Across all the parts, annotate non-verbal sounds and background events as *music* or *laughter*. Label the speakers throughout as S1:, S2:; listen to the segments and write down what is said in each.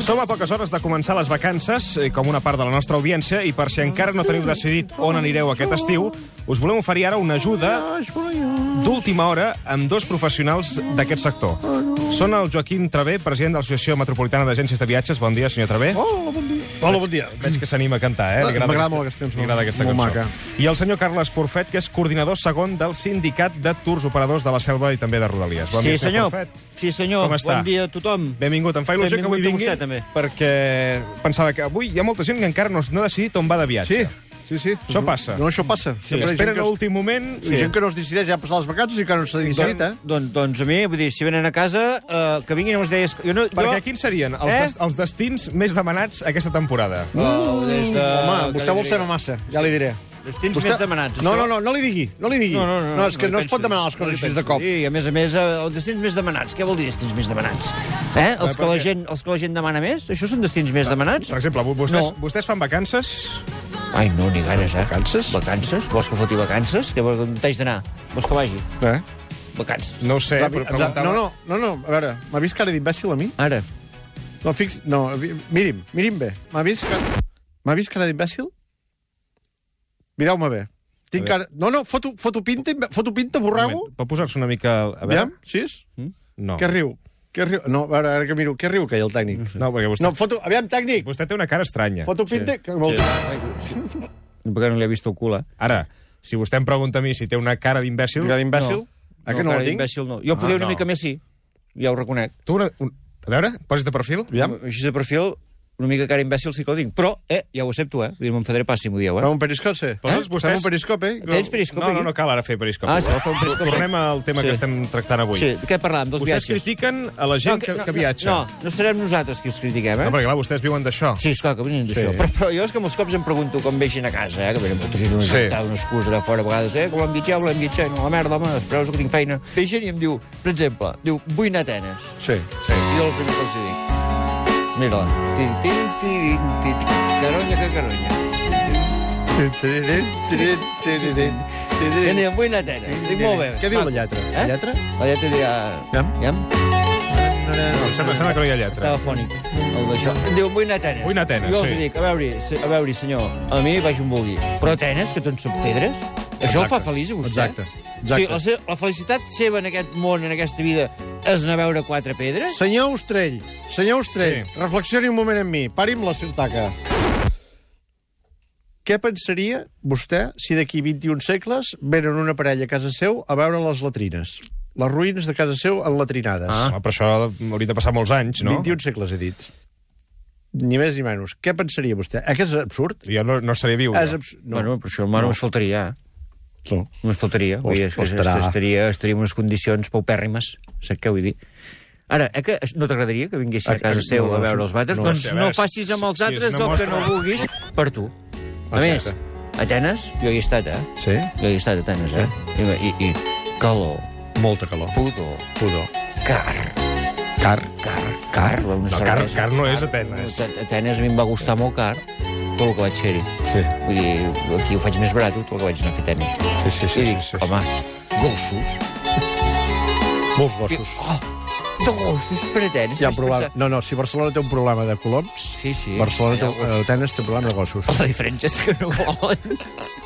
S1: Som a poques hores de començar les vacances, eh, com una part de la nostra audiència, i per si encara no teniu decidit on anireu aquest estiu, us volem oferir ara una ajuda d'última hora amb dos professionals d'aquest sector. Són el Joaquim Travé, president de l'Associació Metropolitana d'Agències de Viatges. Bon dia, senyor Travé.
S2: Hola, bon dia.
S3: Hola, bon dia.
S1: Veig que s'anima a cantar, eh? Li
S2: M'agrada
S1: aquesta-
S2: molt aquesta cançó.
S1: Li agrada aquesta
S2: Molt
S1: cançó.
S2: maca.
S1: I el senyor Carles Forfet, que és coordinador segon del Sindicat de Tours Operadors de la Selva i també de Rodalies. Bon
S4: sí,
S1: dia,
S4: senyor.
S1: Forfet.
S4: Sí, senyor.
S1: Com està?
S4: Bon dia a tothom.
S1: Benvingut, em fa il·lusió que avui
S4: Benvingut
S1: vingui,
S4: a vostè, també.
S1: perquè pensava que avui hi ha molta gent que encara no, no ha decidit on va de viatge.
S2: Sí, sí, sí.
S1: Això passa.
S2: No, això passa.
S1: Sí,
S2: Sempre hi ha
S1: esperen
S2: gent
S1: a
S2: que-
S1: l'últim moment...
S2: hi ha gent que no es decideix, ja passar les vacances i que no s'ha decidit, eh?
S4: Doncs, doncs a mi, vull dir, si venen a casa, eh, que vinguin a les deies... Jo no,
S1: Perquè
S4: jo,
S1: quins serien els,
S4: Eh?
S1: des, els destins més demanats aquesta temporada?
S4: Uh, des de...
S2: Home, vostè vol ser massa, ja li diré.
S4: Destins més demanats,
S2: No,
S4: això.
S2: no, no, no li digui, no li digui.
S4: No, no, no,
S2: no és que
S4: hi
S2: no, es
S4: penso.
S2: pot demanar les
S4: No hi
S2: coses així
S4: penso.
S2: de cop.
S4: Sí, I, a més a més, eh, els destins més demanats. Què vol dir destins més demanats? Eh? Els, que
S1: per
S4: la
S1: què?
S4: gent, els que la gent demana més? Això són destins més demanats?
S1: Per exemple, vo- vostès,
S4: No.
S1: vostès fan vacances...
S4: Ai, no, ni ganes, eh? Vacances? Vacances? Vols que foti vacances? Que vol- on t'haig d'anar? Vols que vagi?
S2: Eh?
S4: Vacances.
S1: No ho sé,
S2: Ràpid,
S1: però
S2: ràpid.
S1: preguntava...
S2: No, no, no, no, a veure, m'ha vist que ara he dit imbècil a mi?
S4: Ara.
S2: No, fix... No, vi- miri'm, miri'm bé. M'ha vist que... M'ha vist cara d'imbècil? Mireu-me bé. Tinc
S1: A
S2: cara... No, no, foto, foto pinta, imbe- foto pinta,
S1: Un moment,
S2: borrego.
S1: Pot posar-se una mica... A veure?
S2: Aviam, sis?
S1: No.
S2: Què riu? Què riu? No, a veure, ara que miro, què riu que hi ha el tècnic?
S1: No, perquè vostè,
S2: No, foto... Aviam, tècnic!
S1: vostè té una cara estranya.
S2: Foto pinta... Que vol...
S4: Perquè no li he vist el cul, eh?
S1: Ara, si vostè em pregunta a mi si té una cara d'imbècil...
S2: Gran imbècil? Ah, que no
S4: cara
S2: la tinc? Ah,
S4: d'imbècil no. Jo poder una
S1: no.
S4: mica més sí, ja ho reconec.
S1: Tu una... Un... A veure, posis de perfil.
S2: Aviam.
S4: Així de perfil, una mica cara imbècil sí que la tinc. Però, eh, ja ho accepto, eh? Vull dir, m'enfadaré pas si m'ho dieu, eh?
S2: Fem un periscop, sí.
S1: Doncs vostès-
S2: Fem un periscop, eh?
S4: Tens periscopi?
S1: No, no, no cal ara fer periscopi.
S4: Ah, sí, va fer un periscopi.
S1: Tornem al tema
S4: Sí.
S1: que estem tractant avui.
S4: Sí, de què parlàvem? Dels
S1: Vostès
S4: viatges.
S1: critiquen a la gent que, que viatja.
S4: No, no serem nosaltres qui els critiquem, eh?
S1: No, perquè clar, vostès viuen d'això.
S4: Sí, esclar, que venien d'això.
S1: Sí.
S4: Però, però jo és que molts cops em pregunto com vegin a casa, eh? Que venen fotos i no
S1: Sí.
S4: sí. una excusa de fora a vegades. Eh, volem viatjar, volem viatjar. I No, la merda, home, espereu que tinc feina. Ve gent i em diu, per exemple, diu, vull anar a Atenes.
S1: Sí, sí.
S4: I jo el primer que els hi dic. Mira-la. Tin, tin, tirin, tin. Caronya que caronya. Venia, vull anar a Atenes. Dic, molt bé.
S2: Què diu
S4: maco.
S2: la lletra?
S4: Eh?
S2: La lletra?
S4: La lletra dirà...
S2: Iam.
S4: Iam.
S1: Em sembla, sembla que no hi ha lletra.
S4: Telefònic. El d'això. Em diu, vull anar a Atenes.
S1: Vull anar a Atenes,
S4: Jo els
S1: sí.
S4: dic, a veure, se- a veure, senyor, a mi vaig on vulgui. Però Atenes, que tots són pedres, això el fa feliç a vostè.
S2: Exacte.
S4: Sí,
S2: Exacte.
S4: la, se la felicitat seva en aquest món, en aquesta vida, és anar a veure quatre pedres?
S2: Senyor Ostrell, senyor Ostrell,
S1: Sí.
S2: reflexioni un moment amb mi. Pari amb la ciutaca. Què pensaria vostè si d'aquí 21 segles venen una parella a casa seu a veure les latrines? Les ruïnes de casa seu enlatrinades.
S1: Ah. Però això hauria de passar molts anys, no?
S2: 21 segles, he dit. Ni més ni menys. Què pensaria vostè? Eh, que és absurd?
S1: Jo no, no seré viu.
S2: És
S1: jo.
S2: absurd. No.
S4: Bueno, però això home, no. només faltaria, eh?
S2: no.
S4: Només faltaria. Vull dir, és que
S2: Ostres.
S4: estaria, estaria en unes condicions paupèrrimes, saps què vull dir? Ara, eh, que no t'agradaria que vinguessin a casa
S2: Eh, eh,
S4: seu
S2: no,
S4: a veure els vàters?
S2: no,
S4: No, doncs
S1: sí, a
S4: no
S1: veure,
S4: facis
S1: si-
S4: amb els
S1: si és
S4: altres
S1: una
S4: el que no
S1: mostra-
S4: vulguis per tu. A més,
S2: Exacte.
S4: Atenes, jo hi he estat, eh?
S2: Sí?
S4: Jo hi he estat a Atenes, eh? I, i, i calor,
S2: Molta calor.
S4: pudor,
S2: Pudor.
S4: car,
S2: Car.
S4: car, car. No,
S1: car- car no és Atenes.
S4: Atenes a mi em va gustar molt car tot el que vaig fer-hi.
S2: Sí.
S4: Vull dir, aquí ho faig més barat, tot el que vaig anar a fer a Atenes.
S2: Sí, sí,
S4: I dic, home, gossos,
S2: Molts
S4: Diu,
S2: gossos.
S4: Oh, dos, és pretens.
S2: Hi ha un problema. No, no, si Barcelona té un problema de coloms,
S4: Sí, sí.
S2: Barcelona té,
S4: Hi ha gossos.
S2: eh, Atenes té un problema de gossos.
S4: La diferència és que no volen.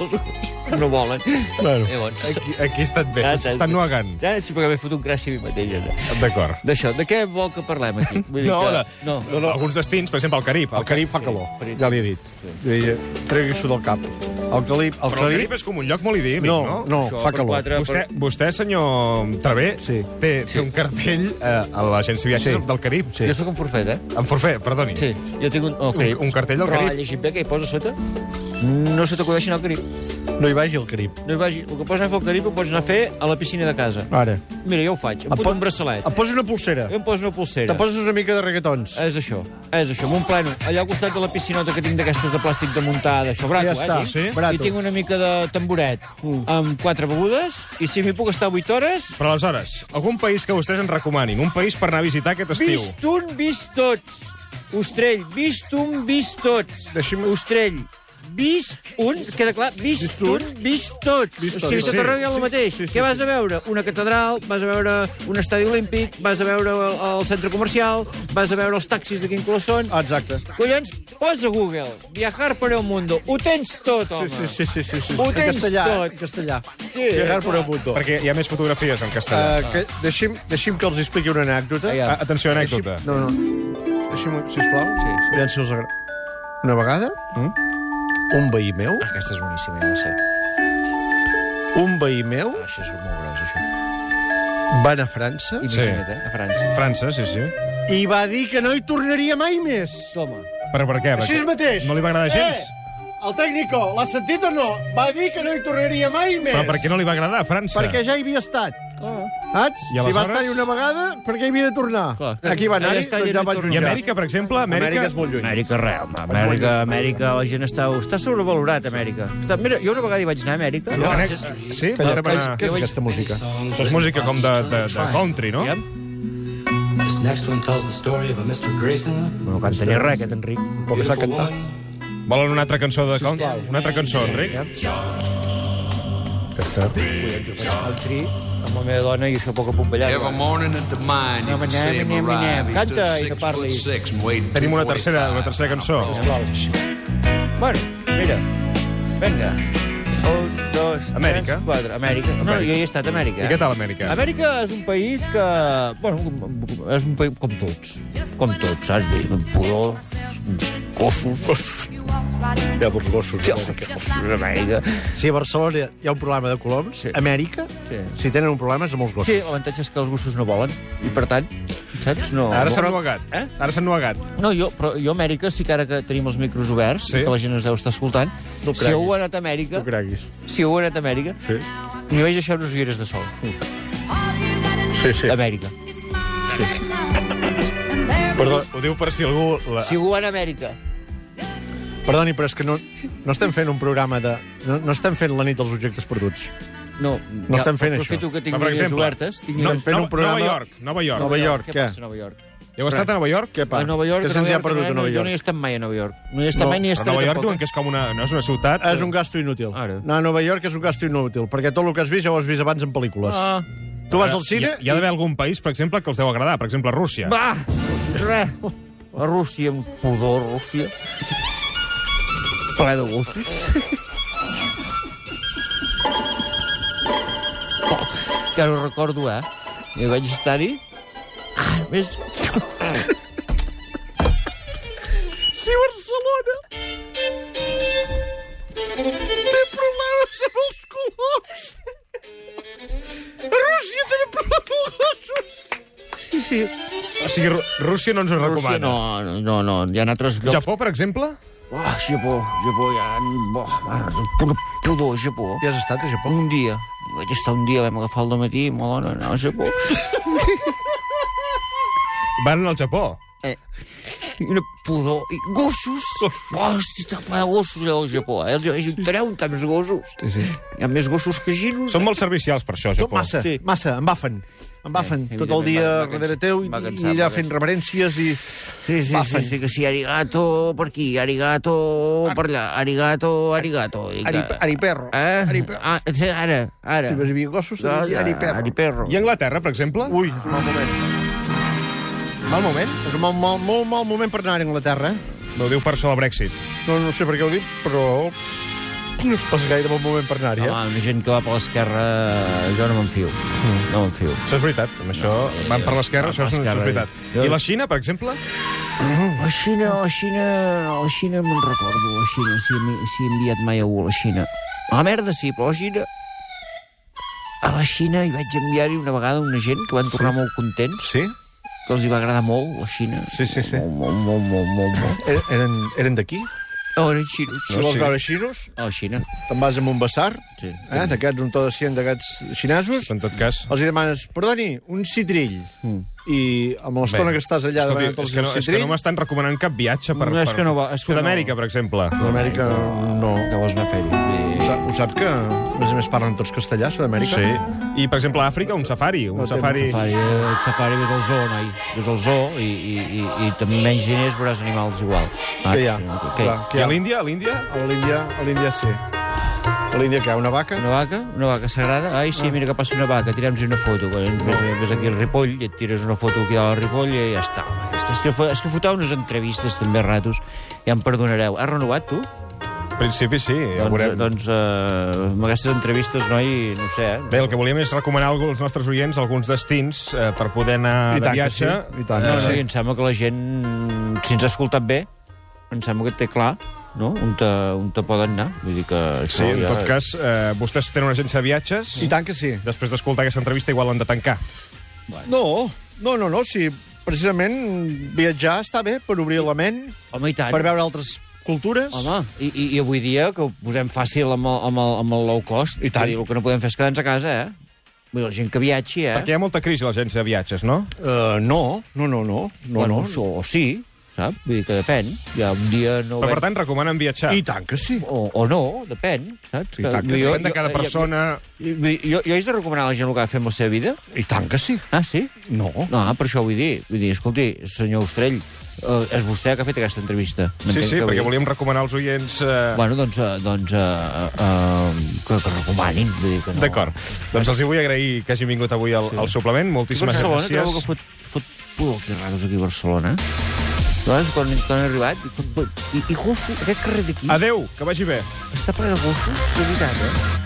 S4: Els gossos *laughs* no volen.
S2: Bueno.
S4: Llavors,
S1: Aquí, aquí he estat bé.
S4: Ah,
S1: S'està nuagant.
S4: ja, sí, perquè m'he fotut gràcia a mi mateix. ara.
S1: D'acord.
S4: D'això, de què vol que parlem aquí? Vull
S1: No,
S4: que...
S1: de, no, no, no. alguns destins, per exemple, el Carib.
S2: El Carib fa calor, ja l'hi he dit. Sí. Tregui-s'ho del cap. El Carib... El
S1: Però el
S2: Carib...
S1: Carib és com un lloc molt idíl·lic,
S2: No,
S1: no?
S2: no,
S4: Això,
S2: fa
S4: per
S2: calor.
S4: quatre-
S1: Vostè, vostè, senyor Travé,
S2: Sí.
S1: té, té un cartell eh, a l'agència de viatges
S2: Sí.
S1: del Carib.
S2: Sí.
S4: Jo sóc un forfet, eh?
S1: En Forfé, perdoni.
S4: Sí, jo tinc un... El Carib.
S1: Un- un cartell del
S4: Però
S1: Carib.
S4: la llegit bé que hi posa sota? No se t'acudeixin al Carib.
S2: No hi vagi el Carib.
S4: No hi vagi. El que pots anar a fer al Carib ho pots anar a fer a la piscina de casa.
S2: Ara.
S4: Mira, jo ho faig. Em
S2: Et po-
S4: foto un braçalet. Eh,
S2: Et poso una pulsera.
S4: Jo em poso una pulsera.
S2: Te poses una mica de reggaetons.
S4: És això, és això, amb un plano. Allà al costat de la piscinota que tinc d'aquestes de plàstic de muntar, d'això, brato,
S2: Ja està,
S4: eh?
S2: sí.
S4: Brato.
S2: Brato.
S4: I tinc una mica de tamboret amb quatre begudes, i si m'hi puc estar 8 hores,
S1: Però aleshores, algun país que vostès ens recomanin, un país per anar a visitar aquest estiu.
S4: vist un, vist tots. Ostrell, vist un, vist tots.
S2: Deixi'm-
S4: Ostrell, vist un, queda clar, vist, vist un, vist tots. Vist o sigui,
S1: tots.
S4: tot arreu hi ha
S1: Sí,
S4: el mateix. Sí, sí, Què vas a veure? Una catedral, vas a veure un estadi olímpic, vas a veure el, el centre comercial, vas a veure els taxis de quin color són.
S2: Ah, exacte.
S4: Collons, posa Google, viajar per el mundo. Ho tens tot, home.
S2: Sí, sí, sí. sí, sí.
S4: Ho
S2: En
S4: tens
S2: castellà, eh?
S4: tot.
S2: En castellà.
S4: Sí,
S2: Gerard
S4: clar.
S2: Poreputo.
S1: Perquè hi ha més fotografies en castellà.
S2: Uh, que, deixi'm, deixi'm que els expliqui una anècdota. Eh,
S4: Aviam.
S1: Uh, Atenció, anècdota.
S2: No, no. Deixi'm, sisplau.
S4: Sí, sí.
S2: Aviam si els agra... Una vegada,
S1: Mm?
S2: un veí meu,
S4: Aquesta és boníssima, ja la sé. Ah,
S2: un veí meu
S4: Això és molt gros, això.
S2: va anar a França i,
S4: Imagina't, eh, a França.
S1: França, sí, sí.
S2: i va dir que no hi tornaria mai més.
S4: Toma.
S1: Però per què?
S2: Així mateix.
S1: No li va agradar gens?
S2: Eh, el tècnico, l'ha sentit o no? Va dir que no hi tornaria mai més.
S1: Però per què no li va agradar, França?
S2: Perquè ja hi havia estat.
S4: Ah.
S2: Saps?
S1: I aleshores?
S2: Si va estar-hi una vegada, per què hi havia de tornar?
S4: Clar.
S2: Aquí va anar-hi,
S4: Allà està,
S2: doncs
S4: ja
S2: ja
S4: no hi
S2: vaig
S4: torna.
S1: I
S2: mirar.
S1: Amèrica, per exemple? Amèrica,
S2: Amèrica és molt lluny.
S4: Amèrica, res, home. Amèrica, Amèrica, la gent està... Està sobrevalorat, Amèrica. Està, mira, jo una vegada hi vaig anar a Amèrica.
S1: Ja,
S4: Ah,
S1: Amèrica-
S4: és-
S1: Sí,
S2: Calla,
S1: podem
S2: calla,
S1: anar...
S2: Què és aquesta música?
S1: Això és música com de, de, de country, no?
S4: Yep.
S3: This next one tells the story of a Mr. Grayson.
S4: No canta ni res, aquest Enric.
S2: Com que s'ha cantat.
S1: Volen una altra cançó de country? Una altra cançó, Enric?
S4: Country, amb la meva dona, i això a poc a poc ballar.
S5: Every morning at the mine,
S4: eh?
S5: you
S4: No,
S5: could
S4: but
S5: see
S4: never,
S5: him
S4: never,
S5: arrive.
S4: never.
S5: He stood
S4: Canta i
S5: six
S4: no parli.
S5: foot six and weighed
S1: Tenim una tercera,
S5: 245.
S1: una tercera cançó.
S4: Bueno, mira, vinga. Un, dos, tres,
S1: Amèrica.
S4: quatre. Amèrica. No, no, jo hi he estat a Amèrica.
S1: I què tal, Amèrica?
S4: Amèrica és un país que... Bueno, com- com- és un país com tots. Com tots, saps? Bé, amb pudor, gossos...
S2: Hi ha dos gossos.
S4: Gossos, Amèrica.
S2: Si a Barcelona hi ha un problema de coloms,
S4: Sí.
S2: Amèrica,
S4: Sí.
S2: si tenen un problema és amb els
S4: Sí,
S2: gossos.
S4: l'avantatge és que els gossos no volen, i per tant, saps? No,
S1: Ara
S4: no-
S1: s'han novegat.
S4: Eh?
S1: Ara s'han novegat.
S4: No, jo, però jo a Amèrica sí que ara que tenim els micros oberts,
S1: Sí.
S4: sí. que la gent ens deu estar escoltant,
S2: No
S4: si heu
S2: creguis.
S4: anat a Amèrica,
S2: No creguis.
S4: si heu anat a Amèrica,
S2: Sí.
S4: m'hi vaig deixar unes ulleres de sol.
S2: Sí, sí.
S4: Amèrica.
S2: Perdó,
S1: Ho diu per si algú... La...
S4: Si heu anat a Amèrica,
S2: perdoni, però és que no, no estem fent un programa de... No, no estem fent la nit dels objectes perduts.
S4: no,
S2: No estem fent això.
S4: Aprofito que tinc
S1: Va, per
S4: ulleres
S1: exemple,
S4: obertes. Tinc
S1: No,
S2: Estem fent
S1: Nova,
S2: un programa-
S1: Nova York, Nova York.
S2: Nova York,
S4: què?
S2: què?
S4: passa a Nova York?
S1: Heu estat a Nova York?
S2: Què, pa?
S4: a Nova York,
S2: Què se'ns hi ha
S4: Nova York,
S2: perdut a Nova
S4: Jo no hi he
S2: York?
S4: estat mai a Nova York. No hi he estat
S2: No,
S4: mai ni hi
S1: Però
S4: estaré
S1: Nova York
S4: tampoc. eh?
S1: diuen que és com una... No és una ciutat...
S2: És un gasto inútil.
S4: Ara.
S2: Anar a Nova York és un gasto inútil, perquè tot el que has vist ja ho has vist abans en pel·lícules.
S4: Ah,
S2: Tu vas al cine...
S1: Hi, hi ha d'haver algun país, per exemple, que els deu agradar. Per exemple, Rússia.
S4: va! Res! A Rússia, amb pudor, Rússia. Ple de gossos. que no recordo, eh? Jo vaig estar-hi... Ah, més...
S2: Si Barcelona té problemes amb els colors, a Rússia té problemes amb els gossos.
S4: Sí, sí.
S1: O sigui, Ru- Rússia no ens ho
S4: Rússia,
S1: recomana.
S4: no, no, no. Hi ha altres llocs
S1: Japó, per exemple?
S4: Oh, Japó, Japó, ja... Oh, pura pudor, Japó.
S2: Ja has estat a Japó?
S4: Un dia, vaig estar un dia, vam agafar el matí, molt dona, no, Japó.
S1: Van al Japó.
S4: I una pudor, i gossos. Gossos. Hòstia, està ple de gossos allà al Japó. Eh? Els ajuntareu tants gossos. Sí, sí. Hi ha més gossos que giros.
S1: Són molt servicials per això, a
S2: Tot
S1: Japó.
S2: massa,
S4: Sí.
S2: massa, em bafen. Em bafen
S4: Eh,
S2: tot el dia
S4: evidentment, m'ha- m'ha
S2: darrere
S4: cansat,
S2: teu i,
S4: m'ha
S2: i
S4: cansat,
S2: allà
S4: m'ha
S2: fent
S4: cansat.
S2: reverències i...
S4: Sí, sí, sí,
S2: Bafen.
S4: sí, que sí, arigato, per aquí, arigato, per allà, arigato, arigato. I
S2: Ah. Ari,
S4: que-
S2: ari perro.
S4: Eh?
S2: Ari perro.
S4: Ah, sí, ara, ara.
S2: Si vas via gossos,
S4: No,
S2: no, ari perro.
S4: Ari perro.
S1: I Anglaterra, per exemple?
S2: Ui, és un mal moment.
S1: Mal moment.
S2: És un mal, mal, molt mal moment per anar a Anglaterra, eh?
S1: No ho diu per això del Brexit.
S2: No, no sé per què ho dic, però... No és pas gaire bon moment per anar-hi, eh?
S4: Home, una gent que va per l'esquerra, jo no m'enfio. No m'enfio.
S1: Això és veritat. Amb això van per l'esquerra,
S4: van
S1: això és, això
S4: per
S1: és
S4: l'esquerra. eh.
S1: veritat.
S4: Jo-
S1: I la Xina, per exemple?
S4: La Xina, la Xina, la Xina me'n recordo, la Xina, si, he- si he enviat mai algú a la Xina. A la merda sí, però a la Xina... A la Xina hi vaig enviar-hi una vegada una gent que van tornar sí. molt contents,
S2: Sí?
S4: que els hi va agradar molt, la Xina.
S2: Sí, sí, sí.
S4: Molt, molt, molt, molt, molt. molt.
S2: Eren, eren d'aquí?
S4: No, eren xinos.
S2: Si vols veure xinos,
S4: A la Xina.
S2: te'n vas a un basar,
S4: Sí.
S2: eh, d'aquests un to de cient d'aquests xinesos,
S1: En tot cas...
S2: els hi demanes, perdoni, un citrill. Mm. i amb
S1: Bé.
S2: l'estona que estàs allà
S1: Escolti,
S2: demanant els
S1: és que no, és que no m'estan recomanant cap viatge per,
S4: No, és
S1: per
S4: que no va- és que no.
S1: Sud-amèrica, per exemple.
S2: Sud-amèrica no.
S4: Que vols anar a fer-hi?
S2: Ho sap, ho sap que, a més a més, parlen tots castellà, a Sud-amèrica?
S1: Sí. I, per exemple, a Àfrica, un safari. Un
S2: No té
S1: safari...
S4: Safari, eh, safari ves al zoo, noi. Ves al zoo i, i, i, i amb menys diners veuràs animals igual. Ah,
S2: Que hi ha?
S4: sí, ok.
S2: Clar,
S1: I
S2: que hi
S1: a
S2: ha?
S1: l'Índia, a l'índia?
S2: A l'Índia, a l'Índia sí. A l'Índia que hi ha una vaca?
S4: Una vaca? Una vaca sagrada? Ai,
S1: Ah.
S4: sí, mira que passa una vaca, tirem-nos una foto. Quan Ves, ves aquí al Ripoll i et tires una foto aquí dalt al Ripoll i ja està. home. És que, fo- és que foteu unes entrevistes també a ratos, ja em perdonareu. Has renovat, tu?
S1: En principi sí, ja ho
S4: doncs,
S1: veurem.
S4: doncs eh, amb aquestes entrevistes, noi, no ho sé, eh?
S1: Bé, el que volíem és recomanar algú als nostres oients alguns destins eh, per poder anar
S2: I
S1: de
S2: tant que
S1: viatge.
S2: sí, i tant
S4: No,
S2: que
S4: no,
S2: sí.
S4: i em sembla que la gent, si ens ha escoltat bé, em sembla que té clar no? on, te, on te poden anar. Vull dir que
S1: Sí,
S4: això
S1: en
S4: ja...
S1: tot cas, eh, vostès tenen una agència de viatges.
S2: I tant que sí.
S1: Després d'escoltar aquesta entrevista, igual l'han de tancar.
S2: No, no, no, no, sí, precisament viatjar està bé per obrir la ment,
S4: Home, i tant.
S2: per veure altres cultures.
S4: Home, i, i, i avui dia que ho posem fàcil amb el, amb el, amb el low cost,
S2: I tant.
S4: Vull dir, el que no podem fer és quedar-nos a casa, eh? Vull dir, la gent que viatgi, eh?
S1: Perquè hi ha molta crisi a l'agència de viatges, no?
S2: Uh, no, no, no, no, no,
S4: bueno,
S2: no.
S4: O, o sí, saps? Vull dir que depèn. Ja un dia no...
S1: Però,
S4: veig-
S1: per tant, recomanen viatjar.
S2: I tant que sí.
S4: o, o no, depèn, saps?
S2: I tant que
S4: jo-
S1: Depèn de cada
S4: jo-
S1: persona...
S4: Jo, vull dir, jo, jo, haig de recomanar a la gent el que ha de fer amb la seva vida?
S2: I tant que sí.
S4: Ah, sí?
S2: No.
S4: No, per això vull dir. Vull dir, escolti, senyor Ostrell, eh, és vostè que ha fet aquesta entrevista.
S1: Sí,
S4: M'entenc
S1: sí,
S4: que
S1: perquè
S4: vull-
S1: volíem recomanar als oients... Eh...
S4: Bueno, doncs, eh, doncs eh, eh, que, que recomanin. Vull dir que no.
S1: D'acord. Doncs els hi vull agrair que hagin vingut avui al, al suplement. Moltíssimes
S4: Barcelona, trobo que
S1: gràcies.
S4: fot, fot pudor aquí raros aquí a Barcelona. Llavors, quan, quan he arribat,
S1: Ah.
S4: dic, "Fot- i, i gossos, aquest carrer d'aquí
S1: Adeu, que vagi bé.
S4: està ple de gossos, de veritat, eh?